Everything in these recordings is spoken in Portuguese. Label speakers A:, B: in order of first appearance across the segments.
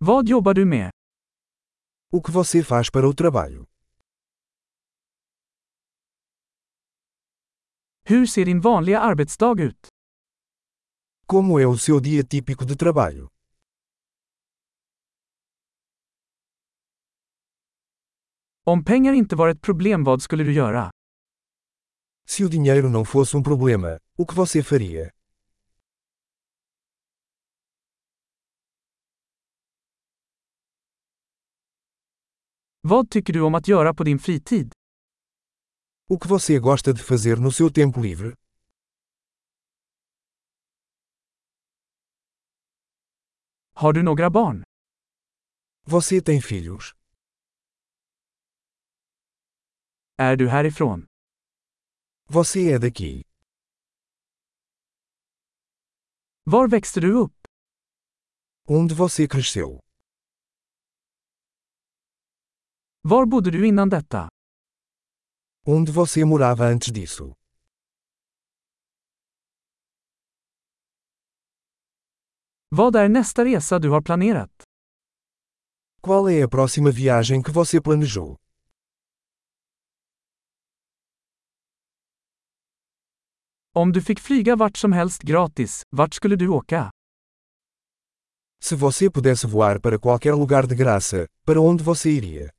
A: Vad jobbar du med?
B: O que você faz para o trabalho?
A: Hur ser din vanliga arbetsdag ut?
B: Como é o seu dia típico de trabalho?
A: Om pengar inte var ett problem vad skulle du göra?
B: Se o dinheiro não fosse um problema, o que você faria?
A: Vad tycker du om att göra på din fritid?
B: O que você gosta de fazer no seu tempo livre?
A: Har du några barn?
B: Você tem filhos?
A: Är du härifrån?
B: Você é daqui?
A: Var växte du upp?
B: Onde você cresceu?
A: Var bodde du innan detta?
B: Onde você morava antes disso?
A: Vad är nästa resa du har planerat?
B: Qual é a próxima viagem que você planejou?
A: Om du fick flyga vart som helst gratis, vart skulle du åka?
B: Se você pudesse voar para qualquer lugar de graça, para onde você iria?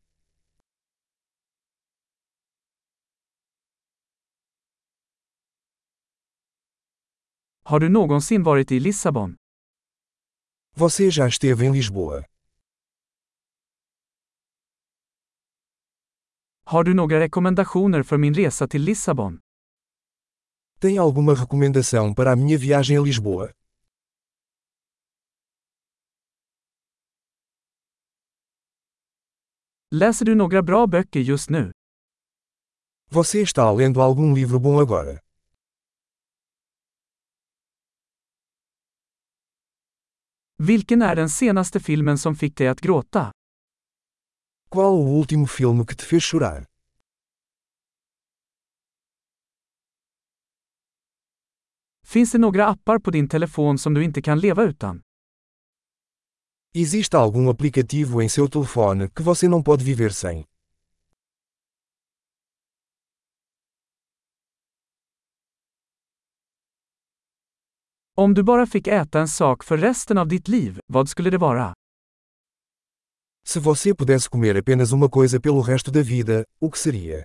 A: Har du någonsin varit i Lissabon?
B: Você já esteve em Lisboa?
A: Har du några rekommendationer för min resa till Lissabon?
B: Tem alguma recomendação para a minha viagem a Lisboa?
A: Läser du några bra böcker just nu?
B: Você está lendo algum livro bom agora?
A: Vilken är den senaste filmen som fick dig att gråta?
B: Qual o último filme que te fez chorar?
A: Finns det några appar på din telefon som du inte kan leva utan?
B: Existe algum aplicativo em seu telefone que você não pode viver sem?
A: Om du bara fick äta en sak för resten av ditt liv, vad skulle det vara?
B: Se você pudesse comer apenas uma coisa pelo resto da vida, o que seria?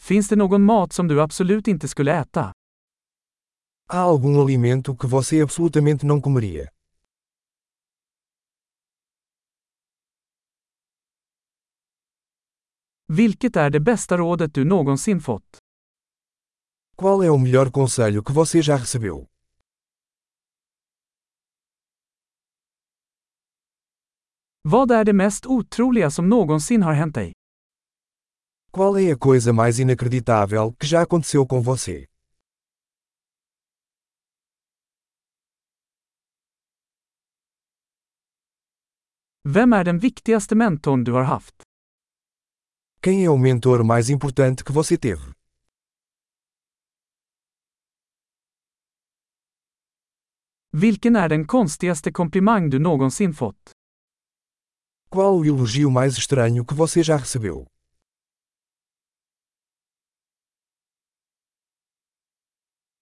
A: Finns det någon mat som du absolut inte skulle äta?
B: Há algum alimento que você absolutamente não comeria?
A: Vilket är det bästa rådet du någonsin fått?
B: Qual é o melhor conselho que você já recebeu?
A: Vad är det mest otroliga som någonsin har hänt dig?
B: Qual é a coisa mais inacreditável que já aconteceu com você?
A: Vem är den viktigaste mentorn du har haft?
B: Quem é o mentor mais importante que você teve?
A: Vilken är den konstigaste komplimang du någonsin fått?
B: Qual o elogio mais estranho que você já recebeu?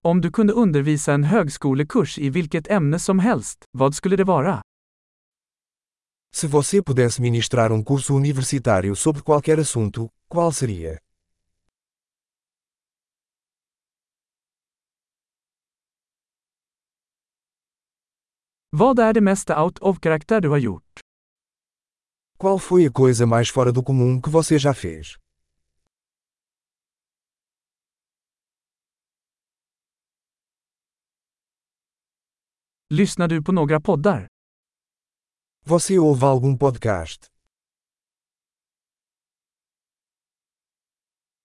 A: Om du kunde undervisa en högskolekurs i vilket ämne som helst, vad skulle det vara?
B: Se você pudesse ministrar um curso universitário sobre qualquer assunto, qual seria?
A: Vad är det mesta out of karaktär du har gjort?
B: Qual foi a coisa mais fora do comum que você já fez?
A: Lyssnar du på några poddar?
B: Você ouve algum podcast?